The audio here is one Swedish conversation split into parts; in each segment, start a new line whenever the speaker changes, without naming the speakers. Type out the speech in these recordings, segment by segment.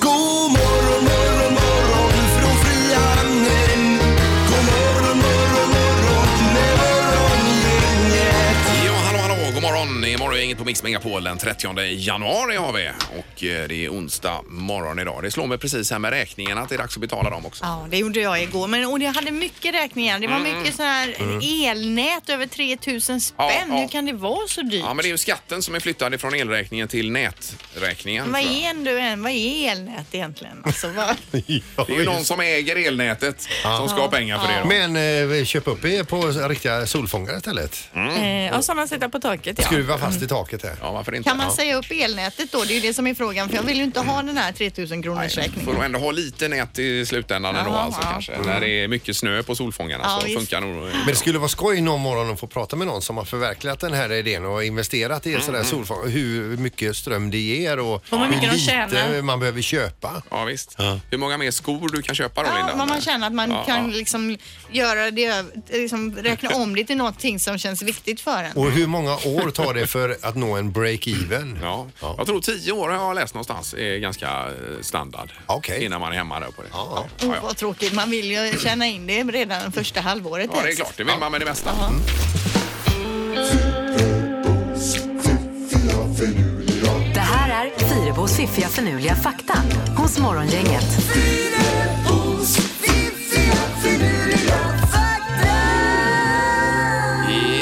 God morgon morgon morgon från Frihamnen. God morgon morgon morgon med morgongänget.
Ja, hallå, hallå, god morgon. Det är morgongänget på Mix Megapol den 30 januari har vi. Och eh, det är onsdag morgon idag. Det slår mig precis här med räkningarna att det är dags att betala dem också.
Ja, det gjorde jag igår. Men, och jag hade mycket räkningar. Det var
Mm,
mycket så här elnät över 3000 spänn.
Ja, ja.
Hur kan det vara så dyrt?
Ja, men det är ju skatten som är flyttad från elräkningen till näträkningen.
Vad
tror jag.
är en du än? Vad är elnät egentligen? Alltså, vad...
Det är ju någon som äger elnätet som ska ha pengar för det. Då.
Men eh, köp upp er på riktiga solfångare istället.
Mm.
Eh, och sådana sitter på taket ja.
Skruva fast i taket här.
Ja, Mm. varför inte?
Kan man säga upp elnätet då? Det är ju det som är frågan. För jag vill ju inte ha den här 3000 kronors
Får
räkningen.
nog ändå ha lite nät i slutändan ändå
Jaha,
alltså
ja.
kanske. När det är mycket snö på solfångarna
Ja,
så
visst.
funkar nog.
Men det skulle vara skoj någon morgon att få prata med någon som har förverkligat den här idén och investerat i
Mm,
sådär solfångare. Hur mycket ström det ger och
Och hur mycket de
eh,
tjänar.
man behöver köpa.
Ja, visst. Hur många mer skor du kan köpa då,
Ja,
Linda?
vad man känner att man
Ja,
kan
ja.
liksom göra det, över- liksom räkna om det till någonting som känns viktigt för en.
Och hur många år tar det för att nå en break-even?
Ja. jag tror tio år har jag läst någonstans är ganska eh, standard
Okej.
innan man är hemma där på det.
Ja.
Ja, ja.
Vad tråkigt, man vill ju tjäna in det redan första halvåret.
ja, det är
helst.
klart. Mm. Det vill man med det mesta.
Det här är Fyrabos fiffiga förnuliga fakta hos Morgongänget.
Fyrabos fiffiga finurliga fakta.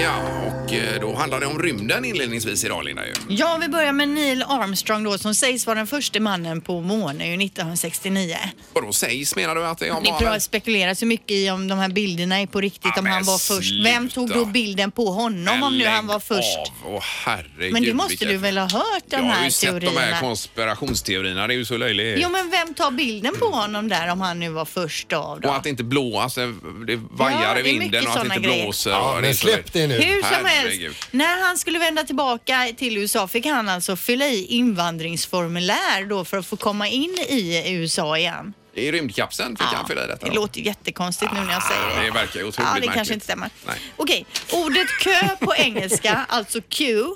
Ja, och eh, då handlar det om rymden inledningsvis idag, Linda. Ju.
Ja, vi börjar med Neil Armstrong då som sägs vara den första mannen på månen ju 1969.
Vadå sägs menar du att det
Det
har
pra- spekuleras ju mycket i om de här bilderna är på riktigt,
Ja,
om
men
han var först. Vem
sluta.
tog då bilden på honom om nu han var först?
Åh, herregud.
Men det måste
vilket-
du väl ha hört de
Jag har ju
här
sett de här
teorierna?
konspirationsteorierna. Det är ju så löjligt.
Jo, men vem tar bilden på honom där om han nu var först av
Och
dem?
att det inte blåser, det vajar
Ja,
i
det är
vinden
mycket
och att det
såna
inte
grejer.
blåser.
Ja,
och det är
men
så
släpp
löjligt.
det nu.
Hur som
Herregud.
helst, när han skulle vända tillbaka till USA fick han alltså fylla i invandringsformulär då för att få komma in i USA igen.
I rymdkapseln fick han fylla i detta.
Det
då. Ah,
låter jättekonstigt nu när jag säger det.
det verkar ju otroligt
Ja, det
märkligt.
kanske inte stämmer.
Nej.
Okej, ordet kö på engelska, alltså queue,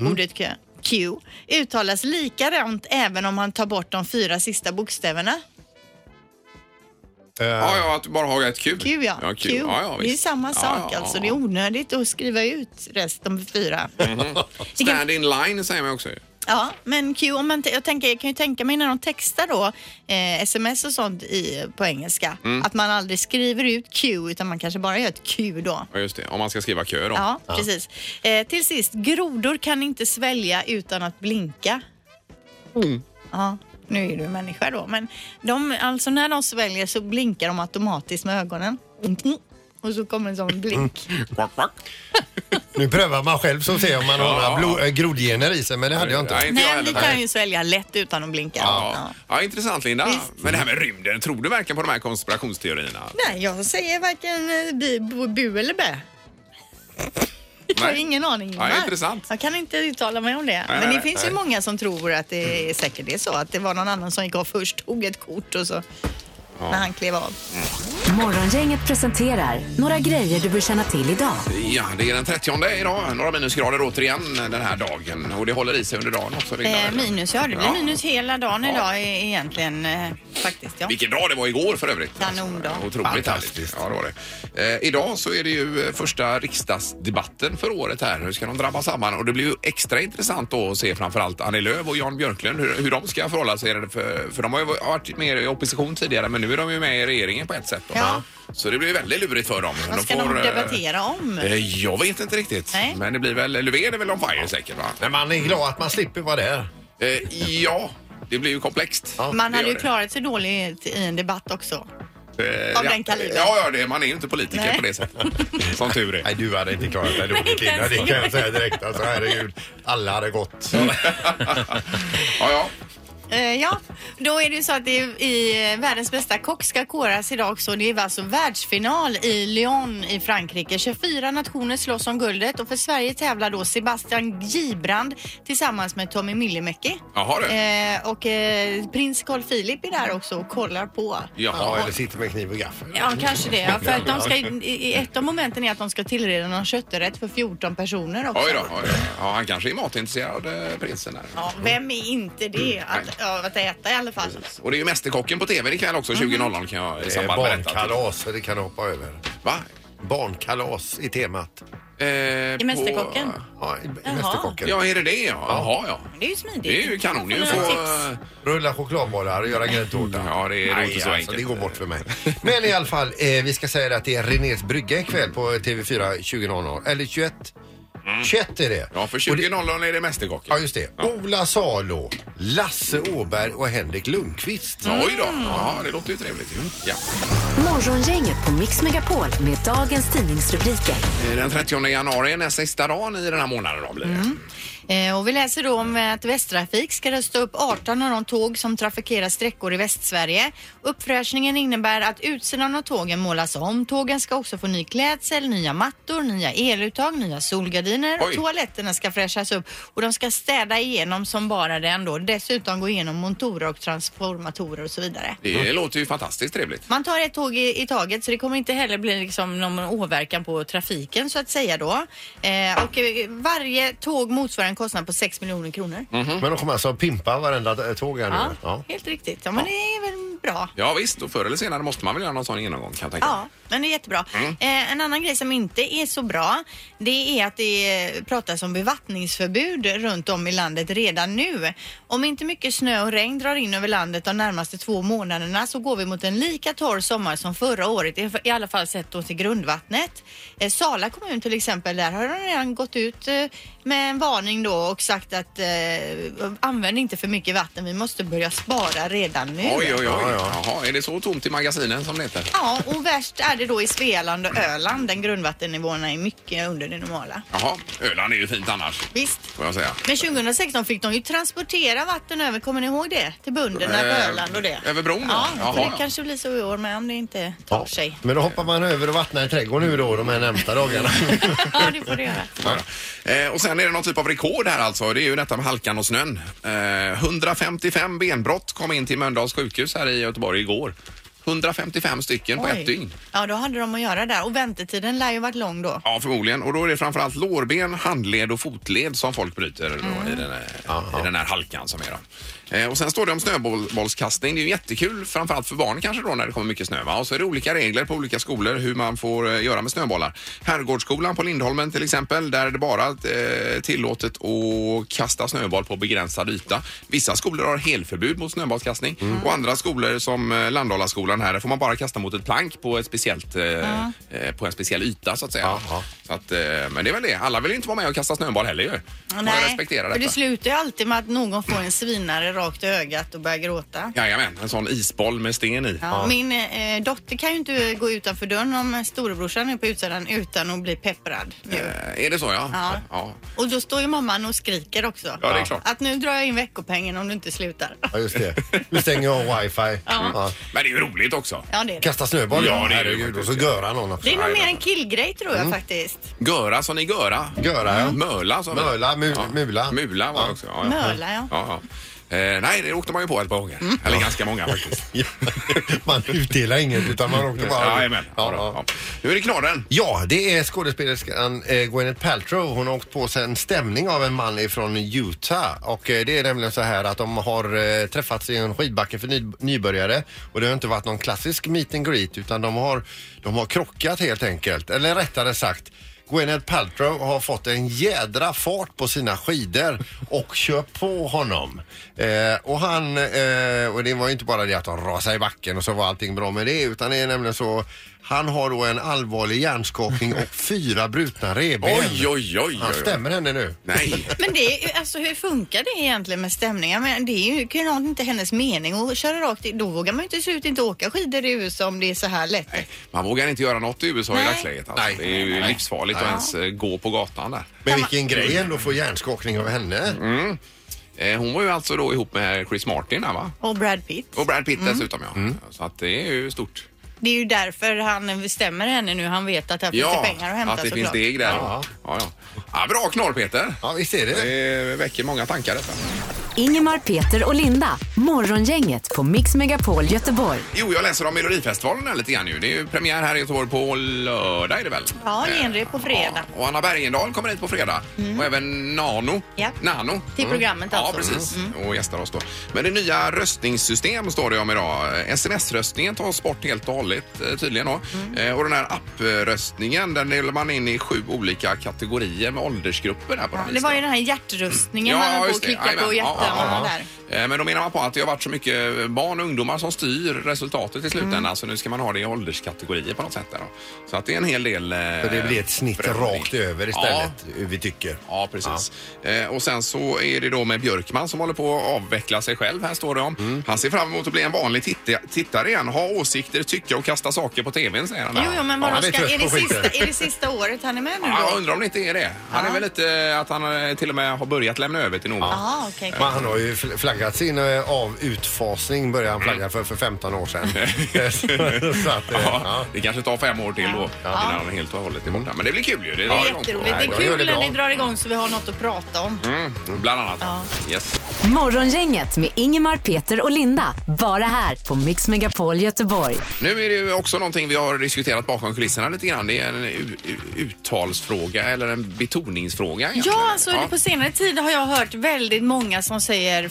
Mm.
ordet kö, Q, uttalas likadant även om man tar bort de fyra sista bokstäverna.
Eh,
Ja, ja, att bara ha ett Q.
Q ja,
ja, Q.
Q.
ja, ja
det är
visst.
samma
Ja,
sak
ja,
alltså.
ja.
Det är onödigt att skriva ut resten de fyra.
Mm-hmm. Stand in line säger man också ju.
Ja, men Q, om man t- jag, tänker, jag kan ju tänka mig när de textar då eh, sms och sånt i, på engelska
Mm.
att man aldrig skriver ut Q utan man kanske bara gör ett Q då.
Ja, just det. Om man ska skriva kö då.
Ja, precis. Eh, till sist, grodor kan inte svälja utan att blinka.
Mm.
Ja, nu är du människa då, men de, alltså när de sväljer så blinkar de automatiskt med ögonen. Och så kommer en sån
Mm.
blink.
Quack, quack.
Nu prövar man själv så ser om man har några blod, eh, grodgener i sig, men det hade jag
Nej,
inte.
inte jag
Nej,
heller.
vi kan ju svälja lätt utan att blinka.
Ja.
Ja.
ja, intressant Linda.
Visst.
Men det här med rymden, tror du verkligen på de här konspirationsteorierna?
Nej, jag säger varken eh, bi, bu, bu eller bä. Jag har
Nej.
ingen aning.
Nej,
Ingmar.
intressant.
Jag kan inte uttala mig om det. Men
nej,
det
nej, Mm.
finns ju många som tror att det är säkert det är så. Att det var någon annan som gick av först, tog ett kort och så när han klev av.
Morgongänget presenterar några grejer du bör känna till idag.
Ja, det är den 30 idag. Några minusgrader återigen den här dagen. Och det håller i sig under dagen också. Linda,
Eh,
eller?
minus, ja. Det blir
Ja.
minus hela dagen
Ja.
idag e- egentligen eh, faktiskt. Ja.
Vilken dag det var igår för övrigt. Alltså,
Kanondag.
Otroligt härligt.
Fantastiskt.
Ja, det var det. Eh, idag så är det ju eh, första riksdagsdebatten för året här. Hur ska de drabba samman? Och det blir ju extra intressant då att se framförallt Annie Lööf och Jan Björklund hur, hur de ska förhålla sig. För, för de har ju varit mer i opposition tidigare men nu är de ju med i regeringen på ett sätt. Då.
Ja.
Så det blir ju väldigt lurigt för dem.
Vad ska de
eh,
debattera om?
eh, Jag vet inte riktigt.
Nej.
Men det blir väl, Löfven är väl on fire säkert va?
Men man är glad att man slipper vara där.
Eh, ja, det blir ju komplext.
Ja,
Man
det
hade
gör
ju
det.
klarat sig dåligt i en debatt också.
Eh,
Av
ja,
den kalibern.
Ja, ja det, man är ju inte politiker
Nej.
på det sättet. Som tur är.
Nej, du hade inte klarat dig dåligt
inte
Linda.
ens
Det kan jag säga direkt. Alltså, herregud. Alla hade gått.
ja, ja.
Eh, ja, då är det ju så att det är i eh, världens bästa kock ska koras idag också. Det är alltså världsfinal i Lyon i Frankrike. 24 nationer slåss om guldet och för Sverige tävlar då Sebastian Gibrand tillsammans med Tommy Myllymäki.
Jaha du.
Eh, och eh, prins Carl Philip är där också och kollar på.
Ja,
Jaha.
eller sitter med kniv och gaffel.
Ja, kanske det. Ja, för att de ska, i, i ett av momenten är att de ska tillreda någon kötträtt för 14 personer också.
Oj då, oj då. Ja, han kanske är matintresserad, eh, prinsen. Här.
Ja, vem är inte det att,
Mm.
av att äta i alla fall?
Och det är ju Mästerkocken på TV ikväll också 20.00 kan jag i
Det är
samband med detta.
barnkalas, så det kan du hoppa över.
Va?
Barnkalas i temat.
Eh, I
Mästerkocken?
Ja, i- i Mästerkocken.
Ja, är det det ja? Jaha ja.
Det är ju smidigt.
Det är ju kanon ju.
Får
Få...
några tips.
Rulla chokladbollar och göra gräddtårta.
Ja, det är nog inte så enkelt.
det går bort för mig. Men i alla fall, eh, vi ska säga det att det är Renés brygga ikväll på TV4 20.00. Eller 21. 21 är det.
Ja, för
Och det-
20.00 är det Mästerkocken.
Ja, just det. Ola Salo, Lasse Åberg och Henrik Lundqvist.
Oj då. Ja, det låter ju trevligt ju. Ja.
Morgongänget på Mix Megapol med dagens tidningsrubriker.
Eh, Den 30 januari är näst sista dagen i den här månaden då blir det.
Eh, Och vi läser då om att Västtrafik ska rusta upp 18 av de tåg som trafikerar sträckor i Västsverige. Uppfräschningen innebär att utsidan av tågen målas om. Tågen ska också få ny klädsel, nya mattor, nya eluttag, nya solgardiner och
Oj.
toaletterna ska fräschas upp och de ska städa igenom som bara den då. Dessutom gå igenom montorer och transformatorer och så vidare.
Det låter ju fantastiskt trevligt.
Man tar ett tåg i, i taget så det kommer inte heller bli liksom någon åverkan på trafiken så att säga då. Eh, och eh, varje tåg motsvarar en kostnad på 6 miljoner kronor.
Men de kommer alltså att pimpa varenda eh, tåg här nu.
Ja,
Ja.
helt riktigt. Ja, men det är väl bra.
Ja visst, och förr eller senare måste man väl göra någon sån genomgång kan jag tänka mig.
Ja, men det är jättebra.
Mm.
Eh, en annan grej som inte är så bra, det är att det eh, pratas om bevattningsförbud runt om i landet redan nu. Om inte mycket snö och regn drar in över landet de närmaste två månaderna så går vi mot en lika torr sommar som förra året, i- i alla fall sett då till grundvattnet. Eh, Sala kommun till exempel, där har de redan gått ut eh, med en varning då och sagt att eh, använd inte för mycket vatten, vi måste börja spara redan nu.
Oj, oj, oj. Jaha, är det så tomt i magasinen som det heter?
Ja, och värst är det då i Svealand och Öland där grundvattennivåerna är mycket under det normala.
Jaha, Öland är ju fint annars,
Visst.
får jag säga.
Men 2016 fick de ju transportera vatten över, kommer ni ihåg det? Till bönderna på
Eh,
Öland och det.
över bron,
Ja,
ja.
och
Jaha,
det
ja.
kanske blir så i år med om det inte tar sig.
Men då hoppar man över och vattnar i trädgården nu då de här närmsta dagarna.
Ja, det får du göra.
Eh, och sen är det någon typ av rekord här alltså. Det är ju detta med halkan och snön. Eh, 155 benbrott kom in till Mölndals sjukhus här i Göteborg igår. 155 stycken på
Oj.
ett dygn.
Ja, då hade de att göra där och väntetiden lär ju varit lång då.
Ja, förmodligen. Och då är det framförallt lårben, handled och fotled som folk bryter då, i, den här, i den här halkan som är då. Eh, och sen står det om snöbollskastning. Det är ju jättekul, framförallt för barn kanske då när det kommer mycket snö. Va? Och så är det olika regler på olika skolor hur man får eh, göra med snöbollar. Herrgårdsskolan på Lindholmen till exempel, där är det bara eh, tillåtet att kasta snöboll på begränsad yta. Vissa skolor har helförbud mot snöbollskastning och andra skolor som eh, Landalaskolan här, där får man bara kasta mot ett plank på, ett speciellt, eh, eh, på en speciell yta så att säga.
Jaha.
Så att, eh, men det är väl det. Alla vill ju inte vara med och kasta snöboll heller ju. Man respekterar
för det
detta.
slutar ju alltid med att någon får en svinare rakt i ögat och börjar gråta.
Jajamän, en sån isboll med sten i.
Ja, Min eh, dotter kan ju inte gå utanför dörren om storebrorsan är på utsidan utan att bli pepprad. Nu.
Eh, är det så ja?
Ja.
ja.
Och då står ju mamman och skriker också.
Ja, det är klart.
Att nu drar jag in veckopengen om du inte slutar.
Ja, just det. Nu stänger jag av wifi. Ja.
Men det är ju roligt också.
Ja, det är det.
Kasta snöboll,
Ja, det är det
herregud. Och så göra någon också.
Det är nog
Nej, Mm.
mer en killgrej tror jag faktiskt.
Göra som ni göra.
Göra, ja.
Möla som
Möla, mu-
ja.
mula.
Mula var det också. Ja, ja.
Möla, ja.
ja, ja. Eh, nej, det åkte man ju på ett par gånger.
Mm.
Eller ganska många faktiskt.
Ja. Man utdelar inget utan man åker bara...
Jajamän.
Ja,
Ja,
ja.
ja. Nu är det knorren.
Ja, det är skådespelerskan eh, Gwyneth Paltrow. Hon har åkt på sig en stämning av en man ifrån Utah. Och eh, det är nämligen så här att de har eh, träffats i en skidbacke för ny, nybörjare. Och det har inte varit någon klassisk meet and greet utan de har, de har krockat helt enkelt. Eller rättare sagt Gwyneth Paltrow har fått en jädra fart på sina skidor och kör på honom. Eh, och han, eh, och det var ju inte bara det att han rasade i backen och så var allting bra med det utan det är nämligen så han har då en allvarlig hjärnskakning och fyra brutna revben.
Oj, oj, oj. oj,
Han
oj.
stämmer henne nu.
Nej.
Men det är, ju- alltså, hur funkar det egentligen med stämningar? Men det är ju det kan ju inte hennes mening att köra rakt in. Då vågar man ju inte se ut inte åka skidor i USA om det är så här lätt.
Nej, man vågar inte göra något i USA i
Nej.
dagsläget. Alltså. Det är ju livsfarligt att ens eh, gå på gatan där.
Men vilken grej ändå att få hjärnskakning av henne.
Eh, Eh, Hon var ju alltså då ihop med Chris Martin här, va?
Och Brad Pitt.
Och Brad
Mm.
Pitt dessutom ja.
Mm.
Så att det är ju stort.
Det är ju därför han bestämmer henne nu. Han vet att här finns det pengar att hämta
att det finns
såklart.
deg där. Ja.
Ja.
Ja, ja, bra knorr Peter.
Ja, visst är det.
Det väcker många tankar detta.
Ingemar, Peter och Linda. Morgongänget på Mix Megapol Göteborg.
Jo, jag läser om Melodifestivalen här lite grann nu. Det är ju premiär här i Göteborg på lördag är det väl?
Ja,
Eh,
genrep på fredag. Mm.
Ja, och Anna Bergendahl kommer hit på fredag. Och även Nano.
Ja.
Nano. Mm.
Till programmet
Ja,
alltså.
precis. Och gästar oss då. Men det nya röstningssystem står det om idag. Sms-röstningen tas bort helt och hållet eh, tydligen då.
Mm.
Eh, Och den här appröstningen, den delar man in i sju olika kategorier med åldersgrupper här på
Ja,
den
det var ju den här hjärtrustningen han höll på
just
att
det.
klicka
Jajamän.
på hjärtan
Ja, ja, ja.
där.
Eh, Men då menar man på att det har varit så mycket barn och ungdomar som styr resultatet i slutändan
Mm.
så nu ska man ha det i ålderskategorier på något sätt. Där då. Så att det är en hel del... eh,
Så det blir ett snitt
förändring.
rakt över
Ja,
istället, vi tycker.
Ja, precis. Eh, och sen så är det då med Björkman som håller på att avveckla sig själv. Här står det om.
Mm.
Han ser fram emot att bli en vanlig titta- tittare igen. Ha åsikter, tycka och kasta saker på tvn, säger han.
Jo, jo,
Ja,
men vadå,
han är
ska,
trött
är, det
på skiten.
sista, är det sista året han är med nu
Ja, jag
då?
undrar om det inte är det. Han är väl lite eh, att han eh, till och med har börjat lämna över till någon.
Ja, okej.
Men han har ju fl- flaggat sin eh, av utfasning började han flagga för för 15 år sedan. så att, eh,
Ja,
ja.
det kanske tar fem år till då innan han är helt och hållet är borta. Men det blir kul ju. Det,
Det
drar
är
igång på.
jätteroligt. Det
Ja,
är
jag gör
kul
det
när
bra.
ni drar igång så vi har något att prata om.
Mm, bland annat. Yes.
Morgongänget med Ingemar, Peter och Linda. Bara här på Mix Megapol Göteborg.
Nu är det ju också någonting vi har diskuterat bakom kulisserna lite grann. Det är en u- u- uttalsfråga eller en betoningsfråga. egentligen.
Ja, alltså på senare tid har jag hört väldigt många som säger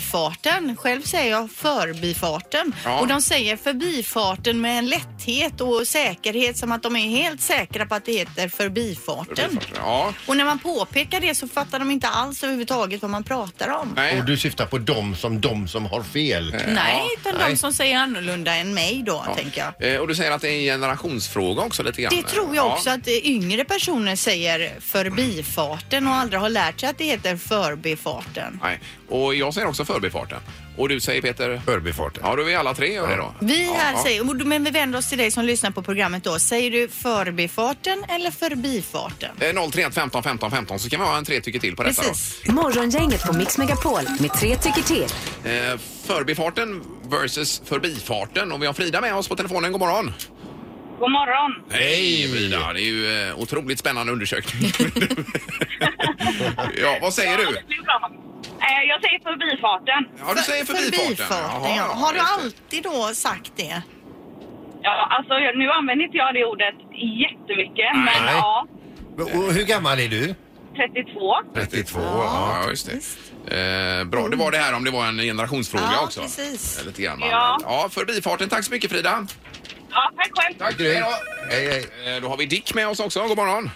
förbifarten. Själv säger jag förbifarten.
Ja.
Och de säger förbifarten med en lätthet och säkerhet som att de är helt säkra på att det heter förbifarten.
Ja.
Och när man påpekar det så fattar de inte alls överhuvudtaget vad man pratar om.
Nej.
Och du syftar på dem som de som har fel.
Nej,
Ja,
utan
nej.
de som säger annorlunda än mig då, tänker jag.
Eh, Och du säger att det är en generationsfråga också lite grann.
Det tror jag
Ja.
också att eh, yngre personer säger förbifarten och aldrig har lärt sig att det heter förbifarten.
Nej. Och jag säger också förbifarten. Och du säger Peter?
Förbifarten.
Ja, då är vi alla tre gör det då.
Vi
Ja,
här
ja.
säger, men vi vänder oss till dig som lyssnar på programmet då. Säger du förbifarten eller förbifarten?
Eh, 031 15 15 15 så kan vi ha en tre tycker till på detta då.
Precis.
Morgongänget på Mix Megapol med tre tycker till.
Eh, förbifarten versus förbifarten. Och vi har Frida med oss på telefonen. God morgon!
God morgon.
Hej Frida! Det är ju eh, otroligt spännande undersökning. ja, vad säger
Ja,
du?
det blir bra. Eh, Jag säger förbifarten.
Ja, du säger förbifarten.
Förbifarten, ja.
Jaha,
Har du
just det.
alltid då sagt det?
Ja, alltså, jag- nu använder inte jag det ordet jättemycket, men
Nej.
ja,
Och hur gammal är du?
32.
32.
Ja, just det. Eh, bra, det var det här om det var en generationsfråga
Ja,
också.
precis.
Eh, Lite grann, ja.
Ja.
ja, förbifarten. Tack så mycket Frida.
Ja, tack själv.
Tack, hej
Grymt.
då.
Hej, hej.
Eh, Då har vi Dick med oss också. God morgon.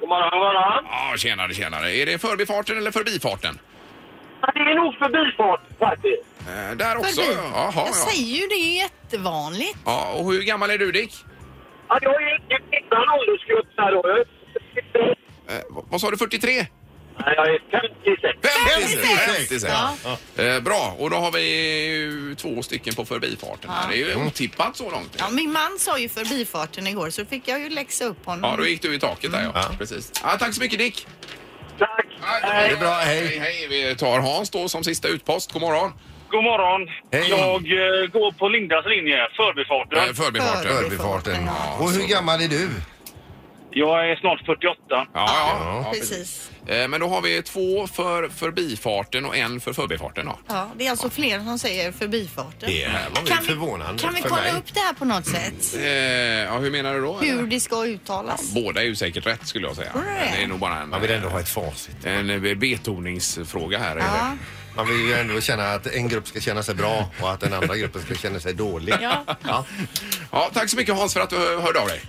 God morgon, god morgon.
Ja, tjenare, tjenare. Är det förbifarten eller förbifarten?
Det är nog förbifart faktiskt.
Eh, där också.
Förbi.
Jaha,
jag
ja.
säger ju det är jättevanligt.
ja. Och hur gammal är du Dick?
Ja, jag är inte en åldersgrupp så här då. Jag är-
Eh, vad vad sa du, 43?
Nej, jag är 56.
56!
56,
ja. Eh, bra, och då har vi ju två stycken på förbifarten. Här. Det är ju otippat så långt.
Ja, min man sa ju förbifarten igår så fick jag ju läxa upp honom.
Ja, då gick du i taket där ja. Precis. Ja, tack så mycket Dick!
Tack.
Det är bra, hej.
hej! hej. Vi tar Hans då som sista utpost. God morgon!
God morgon.
Hej.
Jag eh, går på Lindas linje,
Eh,
förbifarten.
Förbifarten.
Förbi-
Förbifarten.
Ja,
Och hur gammal är du?
Jag är snart 48.
Ja, ja, ja, precis.
Precis.
Eh, Men då har vi två för förbifarten och en för förbifarten. Då.
Ja, det är alltså fler som säger förbifarten.
Det här var
Kan
ju
vi-
förvånande
Kan vi
för
kolla
mig. Mm.
upp det här på något sätt?
Eh, Ja, hur menar du då?
Hur
eller?
det ska uttalas?
Båda är ju säkert rätt skulle jag säga.
Tror du det?
Det är nog bara en,
Man vill ändå ha ett facit.
en eh, betoningsfråga här.
Ja.
Man vill ju ändå känna att en grupp ska känna sig bra och att den andra gruppen ska känna sig dålig.
Ja.
Ja.
Ja, tack så mycket Hans för att du hörde av dig.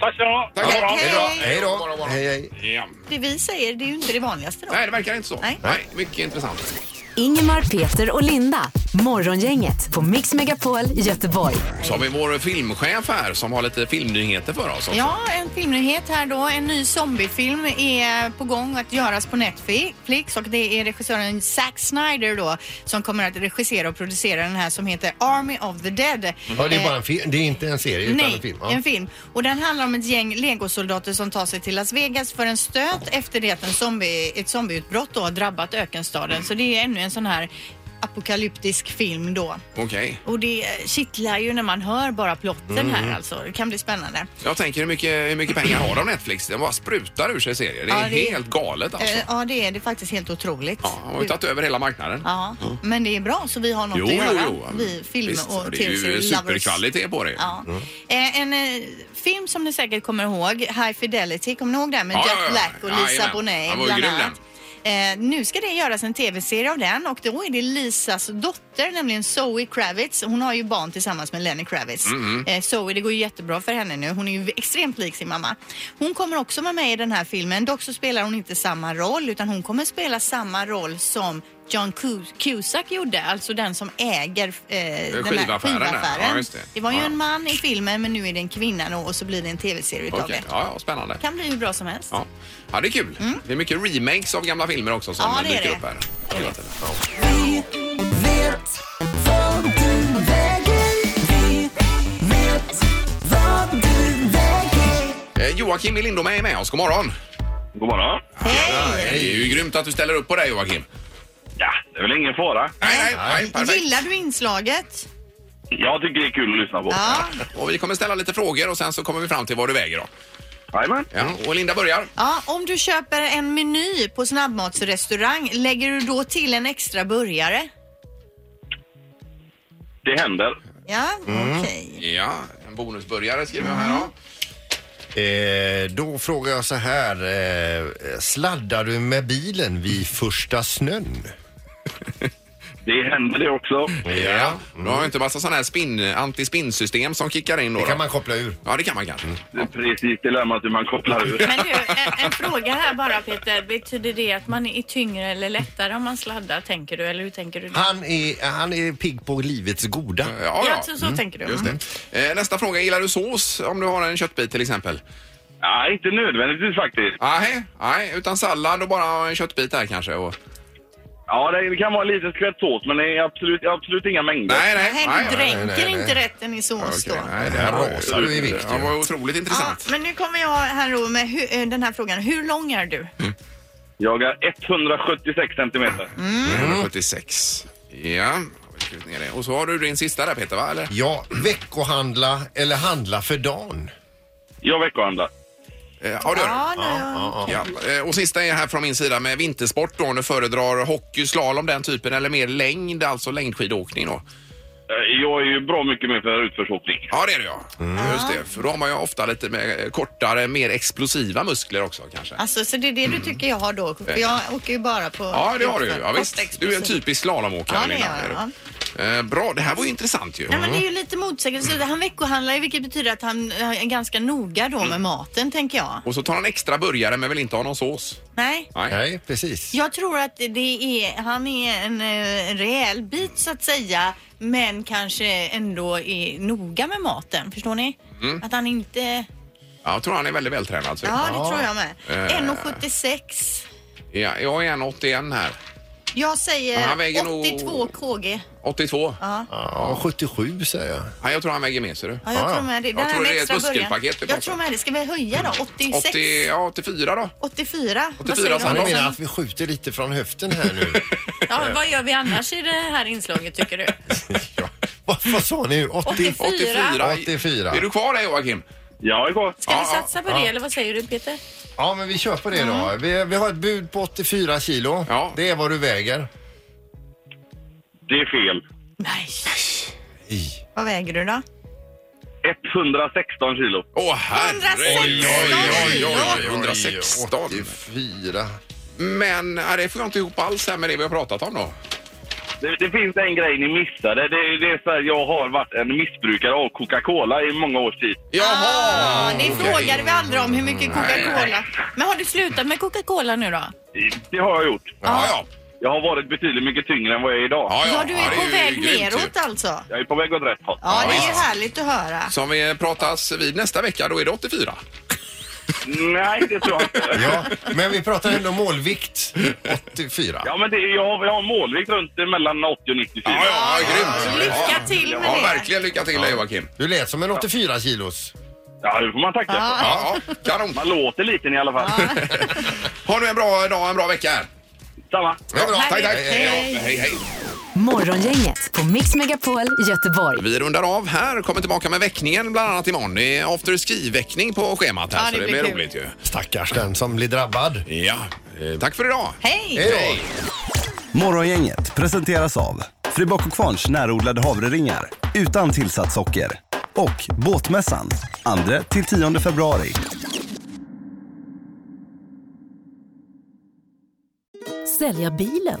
Tack ska ni ha.
Tack.
God morgon.
Hej då.
Hej
God morgon, god
då!
morgon.
Hej, hej.
Ja.
Det vi säger, det är ju inte det vanligaste då.
Nej, det verkar inte så.
Nej.
mycket intressant.
Ingemar, Peter och Linda. Morgongänget på Mix Megapol Göteborg.
Så har vi vår filmchef här som har lite filmnyheter för oss också.
Ja, en filmnyhet här då. En ny zombiefilm är på gång att göras på Netflix och det är regissören Zack Snyder då som kommer att regissera och producera den här som heter Army of the Dead.
Ja, det är
Eh,
bara en film. Det är inte en serie utan
Nej,
en film. Ja.
en film. Och den handlar om ett gäng legosoldater som tar sig till Las Vegas för en stöt efter det att en zombie, ett zombieutbrott då har drabbat ökenstaden. Så det är ännu en sån här apokalyptisk film då.
Okej.
Och det kittlar ju när man hör bara plotten
Mm.
här alltså. Det kan bli spännande.
Jag tänker hur mycket, hur mycket pengar har de Netflix? Den bara sprutar ur sig serier. Det är
Ja, det-
helt galet alltså.
Eh, Ja, det är det är faktiskt helt otroligt.
Ja, de har ju tagit över hela marknaden.
Ja, men det är bra så vi har något
Jo,
att
jo,
göra.
jo.
Vi film
Visst,
och
det är ju
tv-serier lovers.
superkvalitet på det.
Ja. Eh, en eh, film som ni säkert kommer ihåg, High Fidelity, kommer ni ihåg den med
Ja,
Jack
ja, ja.
Black och
Ja,
Lisa
jajamän.
Bonet
Den var ju
bland
grym,
annat? Eh, nu ska det göras en tv-serie av den och då är det Lisas dotter, nämligen Zoe Kravitz. Hon har ju barn tillsammans med Lenny Kravitz.
Mm-hmm.
Eh, Zoe, det går ju jättebra för henne nu. Hon är ju extremt lik sin mamma. Hon kommer också vara med i den här filmen. Dock så spelar hon inte samma roll utan hon kommer spela samma roll som John Cus- Cusack gjorde, alltså den som äger eh, den här
skivaffären där. Ja,
skivaffären.
just det.
var ju
Ja.
en man i filmen men nu är det en kvinna då, och så blir det en tv-serie utav
Okej.
det.
Ja, ja, spännande.
Kan bli hur bra som helst.
Ja. ja, det är kul. Det är mycket remakes av gamla filmer också som
Ja, det är
dyker
det.
upp här. Hela tiden. Ja.
Vi vet vad du väger. Vi vet vad du väger.
Eh, Joakim i Lindome är med oss. God morgon!
God morgon.
Det är ju grymt att du ställer upp på det Joakim.
Ja, det är väl ingen fara.
Nej, nej, nej, perfekt.
Gillar du inslaget?
Jag tycker det är kul att lyssna på.
Ja.
Och vi kommer ställa lite frågor och sen så kommer vi fram till vad du väger då.
Jajamän.
Ja,
Mm.
och Linda börjar.
ja. Om du köper en meny på snabbmatsrestaurang, lägger du då till en extra burgare?
Det händer.
Ja, okej.
Ja, en bonusburgare skriver jag här då.
Eh, då frågar jag så här. Eh, sladdar du med bilen vid första snön?
Det händer det också.
Mm.
Ja. Du har ju inte massa sådana här spin, anti-spin-system som kickar in då.
Det kan
då.
man Mm. koppla ur.
Ja, det kan man kanske.
Det är precis dilemmat hur man kopplar ur.
Men du, en, en fråga här bara Peter. Betyder det att man är tyngre eller lättare om man sladdar tänker du? Eller hur tänker du?
Han är, han är pigg på livets goda.
Ja,
Ja,
ja.
så, så tänker du.
Just
Mm.
det. Eh, nästa fråga. Gillar du sås om du har en köttbit till exempel?
Nej, inte nödvändigtvis faktiskt.
Nej, nej, utan sallad och bara en köttbit där kanske. Och...
Ja, det det kan vara en liten skvätt sås, men det är absolut, absolut inga mängder.
Nej, nej.
Nej,
nej,
du
nej.
dränker
nej, nej.
inte rätten i sås
Okej,
då.
nej, det här var,
Rasar du i vikt,
det
ju.
var otroligt
Ja,
intressant.
men nu kommer jag här då med hu- eh, den här frågan. Hur lång är du?
Jag är 176 centimeter.
Mm.
Mm.
176. Ja, har vi skrivit ner det. Och så har du din sista där Peter, va? Eller?
Ja, veckohandla eller handla för dagen.
Jag veckohandlar.
Eh, Ja, det gör du.
Ja, nu.
Ja, eh, och sista är här från min sida med vintersport då. Om du föredrar hockey, slalom, den typen eller mer längd, alltså längdskidåkning då.
Eh, Jag är ju bra mycket mer för utförsåkning.
Ja, det är det ja.
Mm.
Just det, för då har man ju ofta lite mer, eh, kortare, mer explosiva muskler också kanske.
Alltså, så det är det du tycker jag har då? För jag åker ju bara på...
Mm. Eh. Ja, det har du ju. Ja,
Kort
visst. Du är en typ.
explosiv.
typisk slalomåkare,
Ja, det
Linda.
är jag,
Eh, Bra, det här var ju intressant ju.
Nej, men det är ju lite motsägelsefullt. Han veckohandlar ju vilket betyder att han eh, är ganska noga då
Mm.
med maten tänker jag.
Och så tar han extra burgare men vill inte ha någon sås.
Nej.
Nej, precis.
Jag tror att det är, han är en eh, rejäl bit så att säga men kanske ändå är noga med maten. Förstår ni?
Mm.
Att han inte...
Ja, jag tror han är väldigt vältränad. Så.
Ja, det tror jag med.
Eh.
1,76.
Ja, jag är en 81 här.
Jag säger
Han väger nog-
82 kg.
82. Ja.
Ja, 77 säger jag.
jag tror han väger mer, ser du.
Ja, jag
Ja, ja.
tror med det.
Jag
Den här
Ah, tror
med
det är ett
extra början.
muskelpaket vi pratar
Jag tror med det. Ska vi höja då? 86?
80, ja, 84 då? 84,
84? Vad
sa
Han
säger du?
menar att vi skjuter lite från höften här nu.
Ja, vad gör vi annars i det här inslaget tycker du?
ja. vad, vad sa ni? 80?
84.
84.
Är du kvar där Joakim?
Jag är kvar.
Ska
Ja,
vi satsa på
ja.
det eller vad säger du Peter?
Ja, men vi kör på det då. Vi, vi har ett bud på 84 kilo.
Ja.
Det är vad du väger.
Det är fel.
Nej.
I.
Vad väger du då?
116 kilo.
Åh herregud! Oj, oj, oj, oj, 116.
84.
Men ja, det får jag inte ihop alls här med det vi har pratat om då.
Det, det finns en grej ni missade. Det, det är så här, jag har varit en missbrukare av Coca-Cola i många års tid.
Jaha!
Ja, det frågade vi aldrig om hur mycket Coca-Cola. Men har du slutat med Coca-Cola nu då?
Det har jag gjort.
Ja, ja.
Jag har varit betydligt mycket tyngre än vad jag är idag.
Ja, ja,
Ja, du
ja,
är
det
på
ju
väg
grymt ju.
neråt alltså.
Jag är på väg åt rätt håll.
Ja, det är
visst.
härligt att höra.
Som vi pratas vid nästa vecka, då är det 84.
Nej, det tror jag inte.
Ja, men vi pratar ändå målvikt 84.
Ja, men det, jag, har, jag har en målvikt runt mellan 80 och 90 kilo.
Ja, ja, grymt.
Lycka till
ja,
med det.
verkligen lycka till dig, Joakim.
Du lät som en 84 kilos.
Ja, det får man tacka för.
Ja, ja, kanon.
Man låter liten i alla fall.
Ha nu en bra dag, en bra vecka här.
Samma.
Ja, bra. Tack, tack.
Hej.
Ja, hej, hej.
Morgongänget på Mix Megapol Göteborg.
Vi rundar av här, kommer tillbaka med väckningen bland annat imorgon. Det är afterski-väckning på schemat här,
Ja,
så det blir roligt ju.
Stackars den som blir drabbad.
Ja, eh, tack för idag.
Hej!
Hej då!
Morgongänget presenteras av Fribock och Kvarns närodlade havreringar utan tillsatt socker och Båtmässan 2-10 februari.
Sälja bilen?